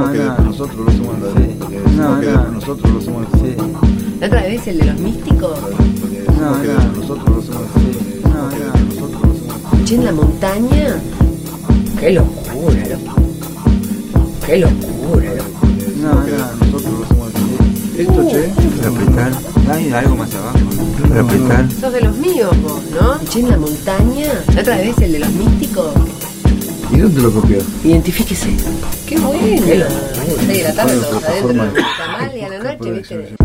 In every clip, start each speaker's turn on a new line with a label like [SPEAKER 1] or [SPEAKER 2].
[SPEAKER 1] nosotros los humanos, eh,
[SPEAKER 2] No,
[SPEAKER 1] no, que
[SPEAKER 2] no.
[SPEAKER 1] nosotros los humanos.
[SPEAKER 2] Sí.
[SPEAKER 3] La otra vez el de los místicos,
[SPEAKER 1] No,
[SPEAKER 2] No,
[SPEAKER 1] que
[SPEAKER 2] no.
[SPEAKER 1] nosotros los humanos.
[SPEAKER 2] Sí. No,
[SPEAKER 1] que
[SPEAKER 2] no.
[SPEAKER 1] nosotros los humanos.
[SPEAKER 3] escuché en la montaña. Qué locura, loco. Qué locura, loco.
[SPEAKER 2] No,
[SPEAKER 1] que
[SPEAKER 2] no.
[SPEAKER 1] nosotros los humanos. Esto, che,
[SPEAKER 2] Apretar. Hay algo más abajo. Apretar.
[SPEAKER 3] Sos de los míos vos, ¿no? Escuché en la montaña. La otra vez el de los místicos.
[SPEAKER 1] ¿y dónde lo copió?
[SPEAKER 3] Identifíquese. Qué bueno. Qué locura. Seis de la tarde
[SPEAKER 1] Bueno,
[SPEAKER 3] todos
[SPEAKER 1] pero
[SPEAKER 3] adentro
[SPEAKER 1] forma-
[SPEAKER 3] del tamal y a la noche, viste.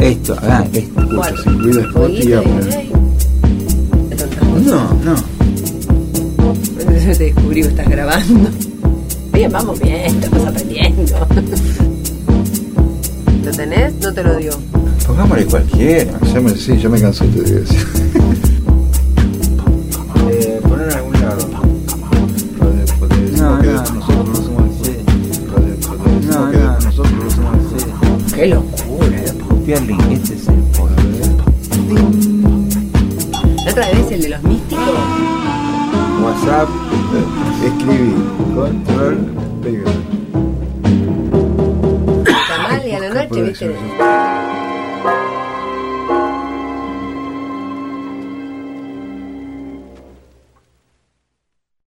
[SPEAKER 2] Esto, acá, esto.
[SPEAKER 3] Cuatro.
[SPEAKER 1] sin ruido, es fuerte y
[SPEAKER 3] Fueguito,
[SPEAKER 1] agua.
[SPEAKER 3] ¿eh? Qué tonta.
[SPEAKER 2] No, no.
[SPEAKER 3] Yo te descubrí que estás grabando. Bien, vamos bien, estamos aprendiendo. ¿Lo tenés? No te lo digo.
[SPEAKER 2] Pongámosle cualquiera.
[SPEAKER 1] Ah, Ya me, sí, ya me cansé, te digo. sí.
[SPEAKER 2] Eh, poner en algún lado.
[SPEAKER 1] Radio Poder,
[SPEAKER 2] No,
[SPEAKER 1] porque
[SPEAKER 2] no.
[SPEAKER 1] nosotros los humanos.
[SPEAKER 2] Sí.
[SPEAKER 1] Radio Poder,
[SPEAKER 2] No,
[SPEAKER 1] porque
[SPEAKER 2] no.
[SPEAKER 1] nosotros los humanos.
[SPEAKER 2] Sí.
[SPEAKER 3] Qué locura. loco.
[SPEAKER 2] Copiar link. Este es el poder.
[SPEAKER 3] La otra vez el de los místicos.
[SPEAKER 2] WhatsApp.
[SPEAKER 1] Escribí control pega.
[SPEAKER 3] Tamal y a la noche,
[SPEAKER 1] Captura de
[SPEAKER 3] viste.
[SPEAKER 1] acción.